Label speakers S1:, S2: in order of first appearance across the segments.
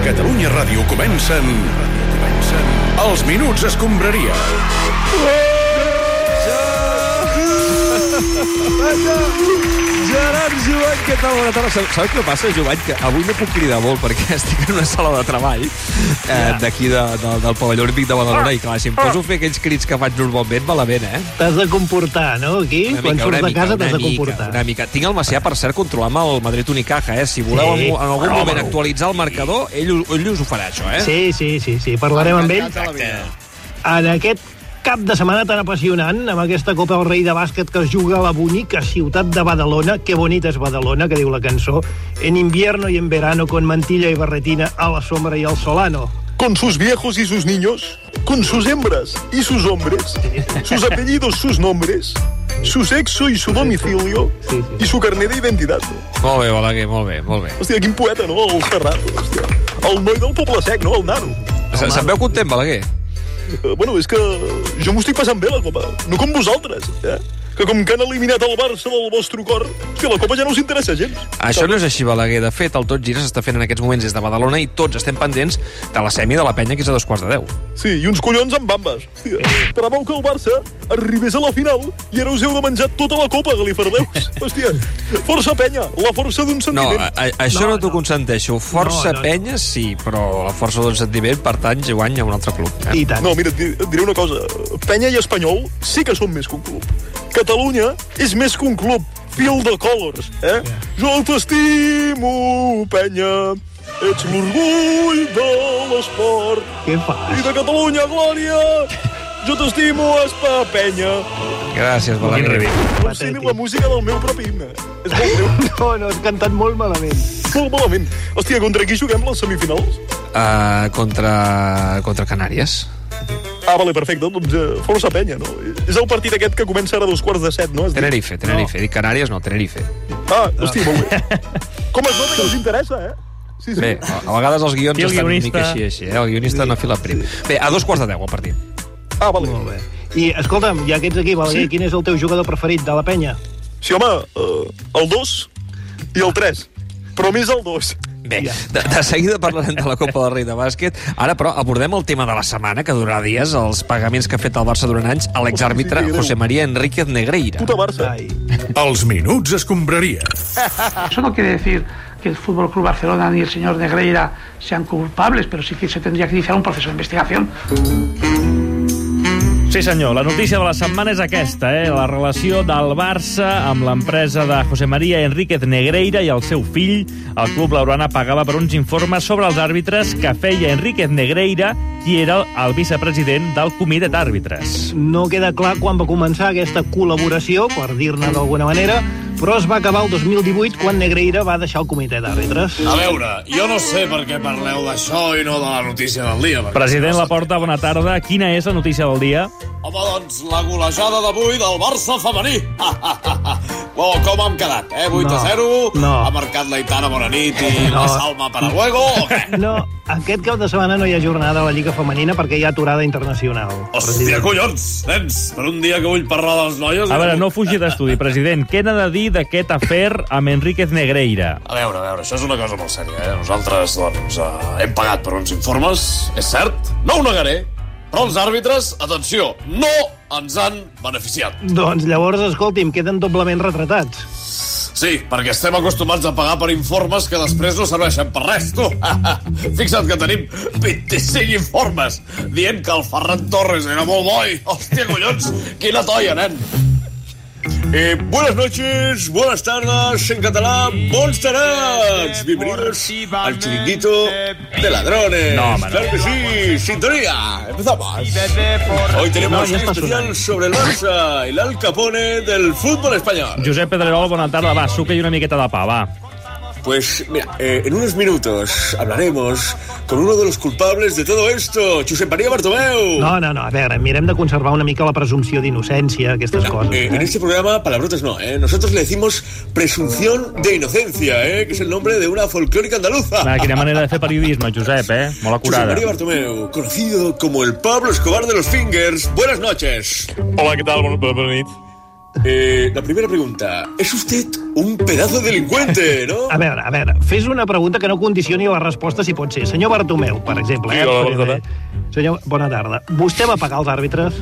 S1: Catalunya Ràdio comencen... comencen... Els Minuts Escombraria.
S2: Gerard Jovany, què tal? Bona tarda. Sabeu sabeu què passa, Jovany? Que avui no puc cridar molt perquè estic en una sala de treball eh, d'aquí de, de, del pavelló olímpic de Badalona i clar, si em poso a fer aquells crits que faig normalment, malament, eh?
S3: T'has de comportar, no, aquí?
S2: Una
S3: Quan surts
S2: mica, una
S3: de
S2: mica,
S3: casa t'has
S2: una
S3: de
S2: mica,
S3: comportar.
S2: una mica. Tinc el Macià, per cert, controlant el Madrid Unicaja, eh? Si voleu
S3: Sí.
S2: en, en algun moment actualitzar el marcador, ell, ho- ell us ho farà, això, eh?
S3: Sí, sí, sí, sí. Parlarem amb ell. En aquest cap de setmana tan apassionant, amb aquesta Copa del Rei de Bàsquet que es juga a la bonica ciutat de Badalona, que bonita és Badalona, que diu la cançó, en invierno y en verano, con mantilla y barretina, a la sombra y al solano.
S4: con sus viejos y sus niños, con sus hembras y sus hombres, sus apellidos, sus nombres, su sexo y su domicilio,
S3: Sí, sí.
S4: y su carnet d'identitat.
S2: Molt bé, Balaguer, molt bé, molt bé.
S4: Hòstia, quin poeta, no? El Ferrat, hòstia. El noi del poble sec, no? El nano.
S2: Se- Se'n veu content, Balaguer?
S4: Eh, bueno, és que jo m'ho estic passant bé, la Copa. No com vosaltres, eh? que com que han eliminat el Barça del vostre cor, que la Copa ja no us interessa gens.
S2: Això no és així, Balaguer. De fet, el Tot Gira s'està fent en aquests moments des de Badalona i tots estem pendents de la sèmi de la penya, que és a dos quarts de deu.
S4: Sí, i uns collons amb bambes. Hòstia, esperàveu que el Barça arribés a la final i ara us heu de menjar tota la copa, Galifardeus. Hòstia, força penya, la força d'un
S2: No,
S4: sentiment.
S2: a, a, això no,
S3: No,
S2: no t'ho
S3: no.
S2: consenteixo. Força
S3: No, no, no.
S2: penya, sí, però la força d'un sentiment, per tant, guany a un altre club. Eh?
S3: I tant.
S4: No, mira, et di- et diré una cosa. Penya i Espanyol sí que són més que un club. Catalunya és més que un club. Feel the colors, eh? Jo t'estimo, penya. Ets l'orgull de l'esport.
S3: Què
S4: I
S3: fas?
S4: de Catalunya, Glòria. Jo t'estimo, Espa, penya.
S2: Gràcies, Balaguer.
S4: No sé ni la música del meu propi himne. És molt greu.
S3: No, no, has cantat molt malament.
S4: Molt malament. Hòstia, contra qui juguem les semifinals?
S2: Uh, contra, contra Canàries.
S4: Ah, vale, perfecte. Doncs eh, força penya, no? És el partit aquest que comença ara a dos quarts de set, no? Has dit?
S2: Tenerife, Tenerife. No. Dic Canàries, no, Tenerife.
S4: Ah, hòstia, molt bé. Com es nota que us interessa, eh? Sí, sí.
S2: Bé, a, a vegades els guions
S5: I el
S2: estan una mica
S5: guionista.
S2: així, així. Eh? El guionista no fila prim. Bé, a dos quarts de deu, el partit.
S4: Ah, vale.
S3: Molt bé. I, escolta'm, ja que ets aquí, Balaguer,
S4: Sí.
S3: quin és el teu jugador preferit de la penya?
S4: Sí, home, eh, el 2 i el 3. Però més el 2.
S2: Bé, de, de seguida parlarem de la Copa del Rei de Bàsquet. Ara, però, abordem el tema de la setmana, que durarà dies, els pagaments que ha fet el Barça durant anys a l'exàrbitre
S4: Sí, sí, sí,
S2: José María Enríquez Negreira.
S4: Puta Barça.
S3: Ai.
S1: Els Minuts Escombraria.
S6: Eso no quiere decir que el Fútbol Club Barcelona ni el señor Negreira sean culpables, pero sí que se tendría que iniciar un proceso de investigación.
S5: Sí, senyor. La notícia de la setmana és aquesta, eh? La relació del Barça amb l'empresa de José María Enríquez Negreira i el seu fill. El club laurana pagava per uns informes sobre els àrbitres que feia Enríquez Negreira, qui era el vicepresident del comitè d'àrbitres.
S3: No queda clar quan va començar aquesta col·laboració, per dir-ne d'alguna manera, però es va acabar el 2018 quan Negreira va deixar el comitè d'àrbitres.
S7: A veure, jo no sé per què parleu d'això i no de la notícia del dia. Perquè...
S5: President Laporta, bona tarda. Quina és la notícia del dia?
S7: Home, doncs, la golejada d'avui del Barça femení. Ha, ha, ha, ha. Wow, com hem quedat, eh? 8 a 0.
S3: no.
S7: Ha marcat la Itana Bonanit i
S3: Eh, No.
S7: la Salma Paraguego, o què?
S3: No, aquest cap de setmana no hi ha jornada a la Lliga Femenina perquè hi ha aturada internacional.
S7: Hòstia, collons, nens, per un dia que vull parlar de les noies... eh?
S5: A veure, no fugi d'estudi, president. Què n'ha de dir d'aquest afer amb Enríquez Negreira?
S7: A veure, a veure, això és una cosa molt sèria, eh? Nosaltres, doncs, eh, hem pagat per uns informes, és cert, no ho negaré, però els àrbitres, atenció, no ens han beneficiat.
S3: Doncs llavors, escolti'm, queden doblement retratats.
S7: Sí, perquè estem acostumats a pagar per informes que després no serveixen per res, tu. Fixa't que tenim 25 informes dient que el Ferran Torres era molt boi. Hòstia, collons, quina toia, nen. Eh, buenas noches, buenas tardes, en català, bons tarats. Bienvenidos al chiringuito de ladrones.
S5: No, home, no.
S7: Claro que sí, sintonía. Empezamos. Hoy tenemos
S3: No, ya
S7: un
S3: está
S7: especial sobre el Barça, el Al Capone del fútbol español.
S5: Josep Pedrerol, bona tarda. Va, suca i una miqueta de pa, va.
S7: Pues mira, eh, en unos minutos hablaremos con uno de los culpables de todo esto, Josep María Bartomeu.
S3: No, no, no, a veure, mirem de conservar una mica la presumpció d'innocència, aquestes coses.
S7: Eh, en
S3: Eh?
S7: este programa, palabrotas no, ¿eh? Nosotros le decimos presunción de inocencia, ¿eh? Que es el nombre de una folclórica andaluza.
S5: Va, quina manera de fer periodisme, Josep, eh?
S7: Josep
S5: Molt acurada.
S7: María Bartomeu, conocido como el Pablo Escobar de los Fingers. Buenas noches.
S8: Hola, què tal? Bona, bona nit.
S7: Eh, la primera pregunta. Es usted un pedazo de delincuente, ¿no?
S3: A veure, a veure, fes una pregunta que no condicioni la resposta, si pot ser. Senyor Bartomeu, per exemple. eh?
S8: Sí, hola, bona tarda.
S3: Senyor, bona tarda. Vostè va pagar els àrbitres?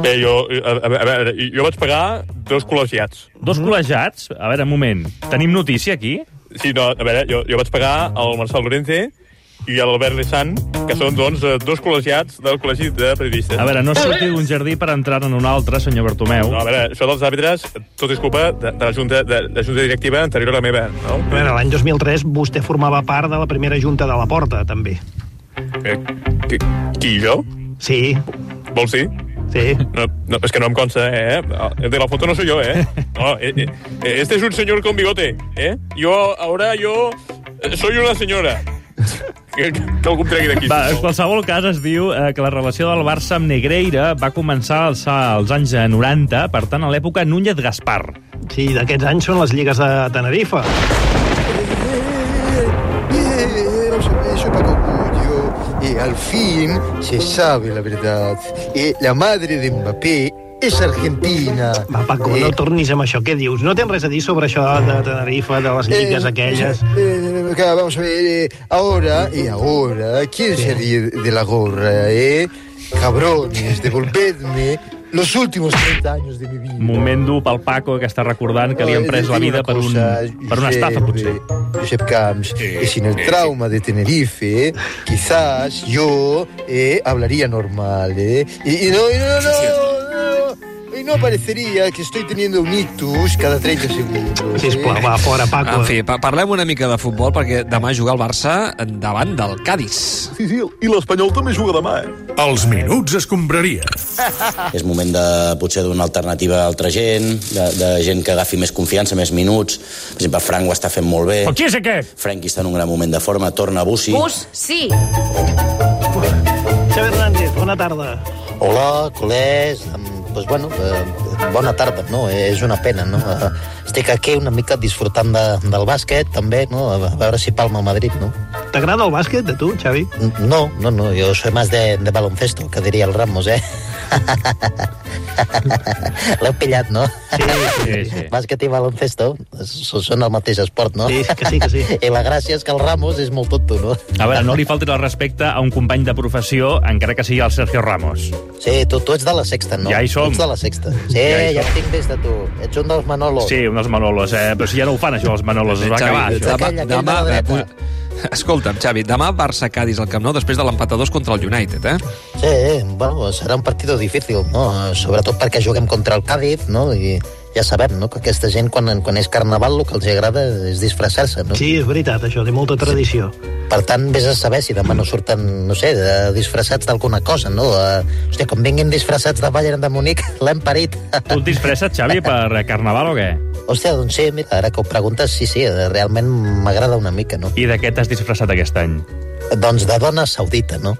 S8: Bé, Eh, jo, a, a veure, jo vaig pagar dos col·legiats.
S5: Dos col·legiats? A veure, un moment. Tenim notícia aquí?
S8: Sí, no, a veure, jo, jo vaig pagar el Marcel Lorente i a l'Albert Lezan, que són, doncs, eh, dos col·legiats del Col·legi de Periodistes.
S5: A veure, no surti d'un jardí per entrar en un altre, senyor Bartomeu.
S8: No, a veure, això dels àrbitres, tot és culpa de, de, la, junta, de, de la junta directiva anterior a la meva, no?
S3: A veure, l'any 2003 vostè formava part de la primera junta de la porta, també.
S8: Eh, qui, qui, jo?
S3: Sí,
S8: Vols dir?
S3: sí.
S8: No, no, és que no em consta, eh? El de la foto no soy yo, eh? No, eh, eh, este es un señor con bigote, eh? Yo, ahora yo eh, soy una señora. Que, que, que algú em tregui d'aquí.
S5: Va, en
S8: sisplau.
S5: qualsevol cas es diu eh, que la relació del Barça amb Negreira va començar als, als anys eh, 90, per tant, a l'època Núñez Gaspar.
S3: Sí, d'aquests anys són les lligues de Tenerife.
S9: Pero sobre eso para Cocuyo. Y al fin se sabe la verdad. Eh, la madre de Mbappé es argentina.
S3: Va, Paco,
S9: Eh,
S3: no tornis amb això. Què dius? No tens res a dir sobre això de Tenerife, de les lligues
S9: eh,
S3: aquelles?
S9: eh, acá, vamos a ver, eh, ahora y ahora, ¿quién se ríe de la gorra, eh? Cabrones, devolvedme los últimos 30 años de mi vida.
S5: Moment dur pel Paco, que està recordant que li han pres la vida per, un, per una estafa, potser.
S9: Josep Camps, que sin el trauma de Tenerife, quizás yo eh, hablaría normal, ¿eh? Y, y no, y no, no, no, no, y no parecería que estoy teniendo un ictus cada 30 segundos. eh.
S3: Sisplau, va, fora, Paco.
S2: En fi, pa parlem una mica de futbol, perquè demà juga el Barça davant del Cádiz.
S4: Sí, sí, i l'Espanyol també juga demà, eh?
S1: Els minuts escombraria.
S10: És moment de, potser d'una alternativa a altra gent, de, de gent que agafi més confiança, més minuts. Per exemple, Frank ho està fent molt bé.
S5: Però qui és aquest?
S10: Frenkie està en un gran moment de forma, torna a Bussi.
S11: sí.
S3: Xavi Hernández, bona tarda.
S9: Hola, culers. Pues bueno, eh, bona tarda, no? És una pena, no? Estic aquí una mica disfrutant de, del bàsquet, també, no? A veure si palma Madrid, no?
S3: T'agrada el bàsquet, a tu, Xavi?
S9: No, no, no, yo soy más de, de baloncesto, que diría el Ramos, ¿eh? L'heu pillat, no?
S3: Sí, sí.
S5: Sí, sí.
S9: Bàsquet i baloncesto so- són el mateix esport, no?
S3: Sí, que sí, que sí.
S9: I la gràcia és que el Ramos és molt tonto, no?
S5: A veure, no li falti el respecte a un company de professió, encara que sigui el Sergio Ramos.
S9: Sí, tu, tu ets de la sexta, no?
S5: Ja hi som.
S9: Tu ets de la sexta. Sí,
S5: Ja
S9: ja,
S5: hi
S9: ja
S5: som.
S9: en tinc més de tu. Ets un dels Manolos.
S5: Sí, un dels Manolos, eh? Però si ja no ho fan, això, els Manolos. Es va
S2: Xavi,
S5: acabar, això.
S9: Aquell, aquell de la
S2: eh,
S9: dreta.
S2: pu- Escolta'm, Xavi, demà Barça-Cádiz al Camp Nou després de l'empat a dos contra el United, eh?
S9: Sí, bueno, serà un partit difícil, no? Sobretot perquè juguem contra el Càdiz, no? I ja sabem, no?, que aquesta gent, quan, quan és carnaval, el que els agrada és disfressar-se, no?
S3: Sí, és veritat, això, té molta tradició.
S9: Per tant, vés a saber si demà no surten, no sé, de, disfressats d'alguna cosa, no? Uh, hòstia, com vinguin disfressats de Bayern de Múnich, l'hem parit.
S5: Tu et disfresses, Xavi, per Carnaval o què?
S9: Hòstia, doncs sí, mira, ara que ho preguntes, sí, sí, eh, realment m'agrada una mica, no?
S5: I de què t'has disfressat aquest any? Ah.
S9: Doncs de dona saudita, no?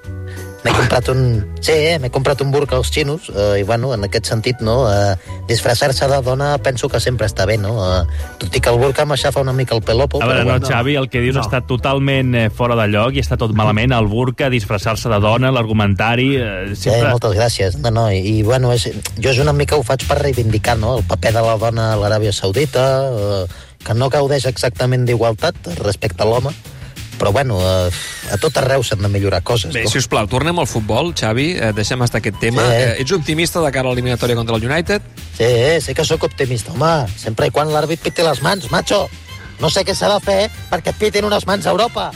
S9: M'he comprat un... Sí, eh, m'he comprat un burca als xinos, eh, i bueno, en aquest sentit, no? Eh, Disfressar-se de dona penso que sempre està bé, no? Eh, tot i que el burca m'aixafa una mica el pelopo,
S5: A
S9: però
S5: veure, no,
S9: bueno,
S5: Xavi, el que dius
S3: No.
S5: no. està totalment eh, fora de lloc i està tot malament, el burca, disfressar-se de dona, l'argumentari... Eh,
S9: Sí,
S5: sempre...
S9: moltes gràcies. No, no, i, i bueno, és, jo és una mica ho faig per reivindicar no? el paper de la dona a l'Aràbia Saudita, eh, que no gaudeix exactament d'igualtat respecte a l'home, però bueno, eh, a tot arreu s'han de millorar coses.
S2: Bé,
S9: no?
S2: si us plau, tornem al futbol, Xavi, eh, deixem estar aquest tema.
S9: Sí.
S2: Eh, ets optimista de cara a l'eliminatòria contra el United?
S9: Sí, sí que sóc optimista, home, sempre i quan l'àrbit piti les mans, macho. No sé què s'ha de fer eh, perquè et pitin unes mans a Europa.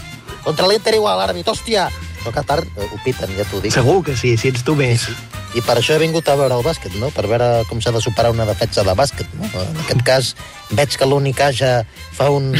S9: Contra l'Inter igual, l'àrbit, hòstia. Però que tard eh, ho piten, ja t'ho dic.
S3: Segur que sí, si ets tu més.
S9: I per això he vingut a veure el bàsquet, no? Per veure com s'ha de superar una defensa de bàsquet, no? En aquest cas, veig que l'Unicaja fa un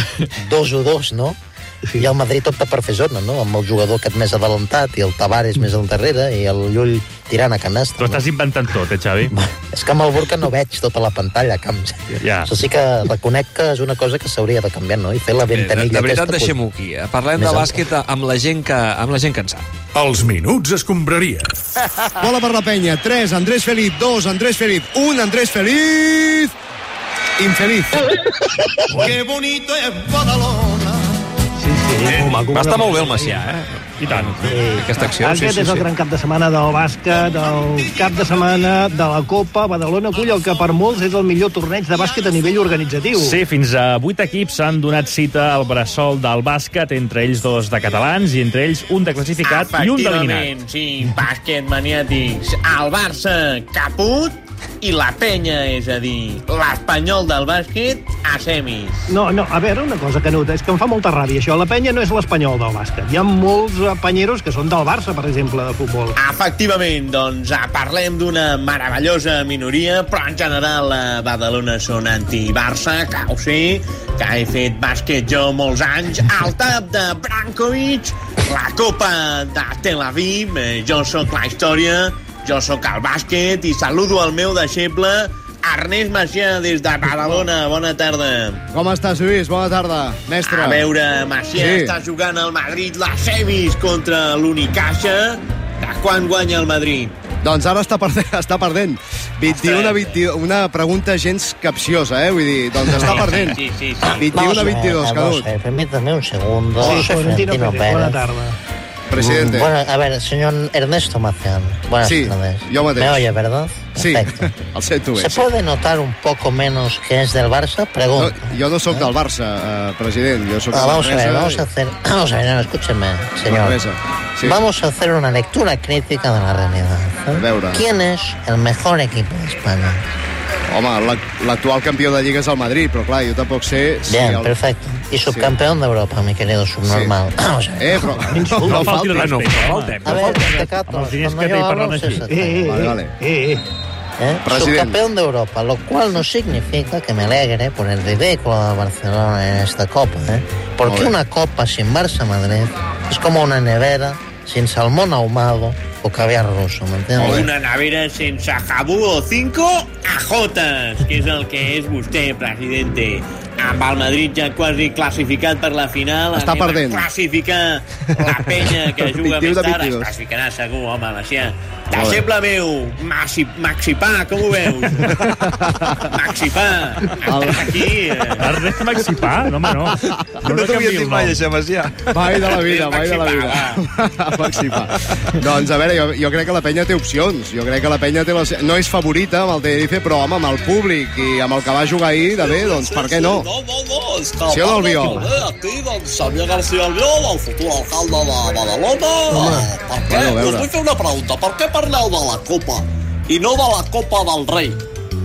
S9: 2 o 2, no?
S3: Sí.
S9: I el Madrid opta per fer zona, no? Amb el jugador aquest més adelantat i el Tavares més al darrere i el Llull tirant a canasta.
S5: T'ho estàs inventant tot, eh, Xavi?
S9: no? És que amb el Burca no veig tota la pantalla, Camps.
S2: Ah.
S5: Ja.
S9: Això sí que reconec que és una cosa que s'hauria de canviar, no? I fer la
S2: Bé, de,
S9: ventanilla
S2: de veritat,
S9: aquesta,
S2: deixem-ho aquí. Eh? Parlem
S9: Més
S2: de
S9: alta.
S2: bàsquet amb la gent que, amb la gent que en sap.
S1: Els minuts escombraria.
S12: Bola per la penya. 3, Andrés Feliz. 2, Andrés Feliz. 1, Andrés Feliz. Infeliz.
S3: Sí, sí, és molt maco.
S2: Va estar molt bé el Macià, eh?
S5: I tant.
S2: Aquesta acció,
S3: Ah, Aquest és el gran cap de setmana del bàsquet, el cap de setmana de la Copa. Badalona acull el que per molts és el millor torneig de bàsquet a nivell organitzatiu.
S5: Sí, fins a 8 equips s'han donat cita al bressol del bàsquet, entre ells dos de catalans i entre ells un de classificat i un d'eliminat.
S11: Efectivament, sí, bàsquet maniàtics. El Barça, caput i la penya, és a dir, l'Espanyol del bàsquet a semis.
S3: No, no, a veure, una cosa, Canut, és que em fa molta ràbia això. La penya no és l'espanyol del bàsquet. Hi ha molts eh, penyeros que són del Barça, per exemple, de futbol.
S11: Efectivament, doncs ah, parlem d'una meravellosa minoria, però en general a Badalona són anti-Barça, que ho sé, que he fet bàsquet jo molts anys, al tap de Brankovic, la Copa de Tel Aviv, eh, jo sóc la història, jo sóc el bàsquet i saludo el meu deixeble, Ernest Macià des de Badalona. Bona tarda.
S12: Com estàs, Lluís? Bona tarda, mestre.
S11: A veure, Macià sí. està jugant al Madrid les semis contra l'Unicaixa. De quan guanya el Madrid?
S12: Doncs ara està perdent, està perdent. 21 a 21, una pregunta gens capciosa, eh? Vull dir, doncs està perdent.
S11: Sí, sí,
S2: Ah,
S11: sí.
S12: 21 a 22,
S13: Vamos,
S12: Canut.
S13: eh, permítame un segundo.
S12: Sí,
S13: Florentino
S12: Florentino Pérez, buena
S13: Pérez.
S12: tarde. Presidente.
S13: Mm, Bueno, a ver, señor Ernesto Macián. Buenas
S12: Sí,
S13: tardes.
S12: yo mateix.
S13: ¿Me oye, verdad?
S12: Sí, el sento bé.
S13: ¿Se
S12: Sí.
S13: puede notar un poco menos que es del Barça? Pregunto.
S12: Jo no sóc del Barça, eh, president. Jo sóc
S13: Ah,
S12: del
S13: vamos a ver,
S12: Barça
S13: vamos a hacer... Vamos a ver, no, escúcheme, señor.
S12: Barça, sí.
S13: Vamos a hacer una lectura crítica de la realidad. ¿eh?
S12: A veure.
S13: ¿Quién es el mejor equipo de España?
S12: Home, l'ac- l'actual campió de Lliga és el Madrid, però clar, jo tampoc sé... Si
S13: Bien,
S12: el...
S13: perfecto. Y subcampeón de Europa, mi querido subnormal. Vamos a ver.
S12: Eh, però...
S13: No falti
S12: falti.
S13: el respecte,
S12: No,
S13: home. A ver, Tecatos, cuando yo hablo, se
S12: així.
S13: salta.
S12: Vale, vale.
S13: ¿Eh?
S3: Eh,
S12: President.
S13: Subcampeón de Europa, lo cual no significa que me alegre por el ridículo de Barcelona en esta Copa. ¿eh? Porque una Copa sin Barça-Madrid es como una nevera sin salmón ahumado o caviar ruso, ¿me
S11: O
S13: entiendes?
S11: una nevera sense jabú o cinco ajotes, que és el que és vostè, presidente. Amb el Madrid ja quasi classificat per la final.
S12: Està
S11: anem a
S12: perdent.
S11: classificar la penya que
S12: 21
S11: juga
S12: de
S11: més tard. Es
S12: 22.
S11: classificarà segur, home, Macià. Deixeble meu, Maxi, Maxipà, com ho veus? Maxipà, estàs aquí.
S5: Ernest Maxipà? No, home, no.
S2: No, no t'havia dit mai, això, Macià.
S12: Vai de la vida, vai de la vida. Maxipà. doncs, a veure, jo, jo crec que la penya té opcions. Jo crec que la penya té les... no és favorita amb el Tenerife, però, home, amb el públic i amb el que va jugar ahir, de bé, doncs per què no?
S14: No, no, no, és que...
S12: Sí o no, Albiol?
S14: Bé, aquí, doncs, Xavier García Albiol, el futur alcalde de Badalona...
S12: Home,
S14: eh, per què?
S12: bueno, a veure.
S14: Us vull fer una pregunta. Per què parleu de la Copa i no de la Copa del Rei?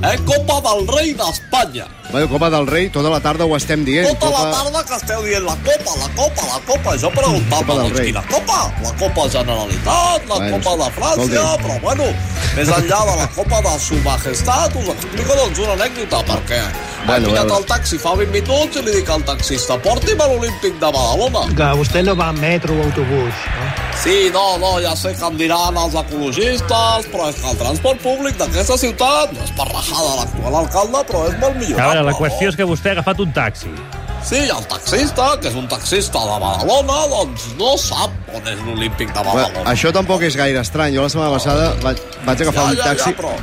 S14: Eh? Copa del Rei d'Espanya.
S12: Bueno, Copa del Rei, tota la tarda ho estem dient.
S14: Tota la tarda que esteu dient la Copa, la Copa, la Copa. Jo preguntava,
S12: Copa del
S14: doncs,
S12: Rei.
S14: quina Copa? La Copa Generalitat, la
S12: Bueno,
S14: Copa de França,
S12: escolti.
S14: però bueno, més enllà de la Copa de Su Majestat, us explico doncs una anècdota, perquè
S12: Bueno, a
S14: he pillat
S12: veure.
S14: el taxi fa 20 minuts i li dic al taxista, porti'm a l'Olímpic de Badalona.
S3: Que vostè no va amb metro o autobús.
S14: Sí, no, no, ja sé que em diran els ecologistes, però és que el transport públic d'aquesta ciutat no és per rajar de l'actual alcalde, però és molt
S5: A veure,
S14: millorable.
S5: la qüestió és que vostè ha agafat un taxi.
S14: Sí, el taxista, que és un taxista de Badalona, doncs no sap on és l'Olímpic de
S12: Bueno,
S14: Badalona.
S12: això tampoc és gaire estrany. Jo la setmana passada vaig, vaig agafar un taxi
S14: Ja, però...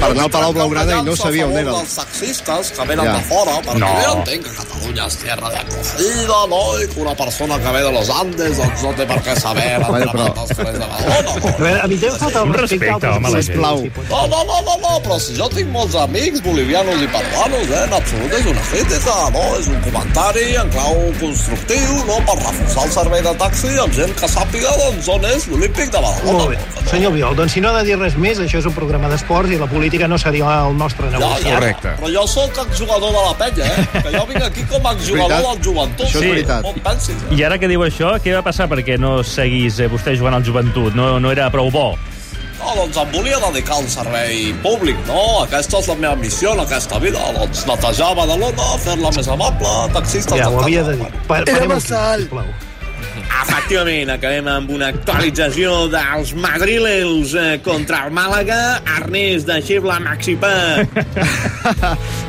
S12: per anar al Palau Blaugrana i no sabia on era.
S14: Els taxistes que venen
S12: Ja.
S14: de fora, perquè
S12: No.
S14: no. jo entenc que Catalunya és terra d'acogida, no? I que una persona que ve de los Andes doncs no té per què saber
S12: Bueno, però-
S14: l'entramat dels carrers de Badalona.
S3: A veure, evitem falta el respecte, Oh. respecte home, la gent. Sisplau.
S14: No, no, no, no, no, però si jo tinc molts amics bolivianos i peruanos, eh, en absolut és una crítica, no? És un comentari en clau constructiu, no?, per reforçar el servei de taxi amb gent que sàpiga, doncs, on és l'Olímpic de Badalona.
S3: Molt bé. Senyor Biol, doncs si no ha de dir res més, això és un programa d'esports i la política no seria el nostre negoci.
S14: Però jo sóc exjugador de la penya, eh? Que jo vinc aquí com a exjugador
S5: Veritat.
S14: del joventut.
S5: Això és veritat.
S14: No em pensis. eh?
S5: I ara que diu això, què va passar perquè no seguís eh, vostè jugant al joventut? No, no era prou bo.
S14: No, doncs em volia dedicar al servei públic, no? Aquesta és la meva missió en aquesta vida. Doncs netejar Badalona, fer-la més amable, taxistes...
S3: Ja, ho havia de dir. Pa- parem aquí.
S11: Efectivament, acabem amb una actualització dels madrilels eh, contra el Màlaga. Ernest de Xibla Maxipà.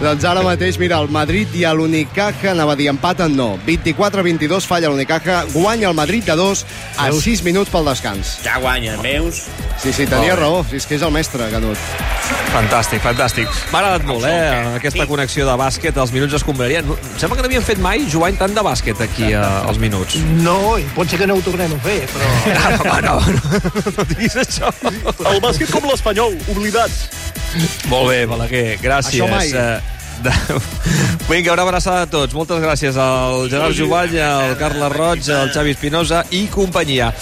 S12: Doncs ara mateix, mira, el Madrid i l'Unicaja, anava a dir empaten, no. 24-22 falla l'Unicaja, guanya el Madrid de 2 a 6 minuts pel descans.
S11: Ja guanyen, veus?
S12: Sí, sí, tenia raó, si és que és el mestre, Canut.
S2: Oh, Fantàstic, fantàstic. M'ha agradat molt, eh, aquesta connexió de bàsquet, els minuts es converien. Em sembla que n'havien fet mai jugant tant de bàsquet aquí, eh, als minuts.
S3: No, i Pot ser que no ho tornem a fer, però...
S2: no, no, no diguis això.
S4: El bàsquet com l'espanyol, oblidats.
S2: Molt bé, Balaguer, gràcies.
S4: Això mai.
S2: Eh, De... Vinga, una abraçada a tots. Moltes gràcies al Gerard Jovany, al Carles Roig, al Xavi Espinosa i companyia.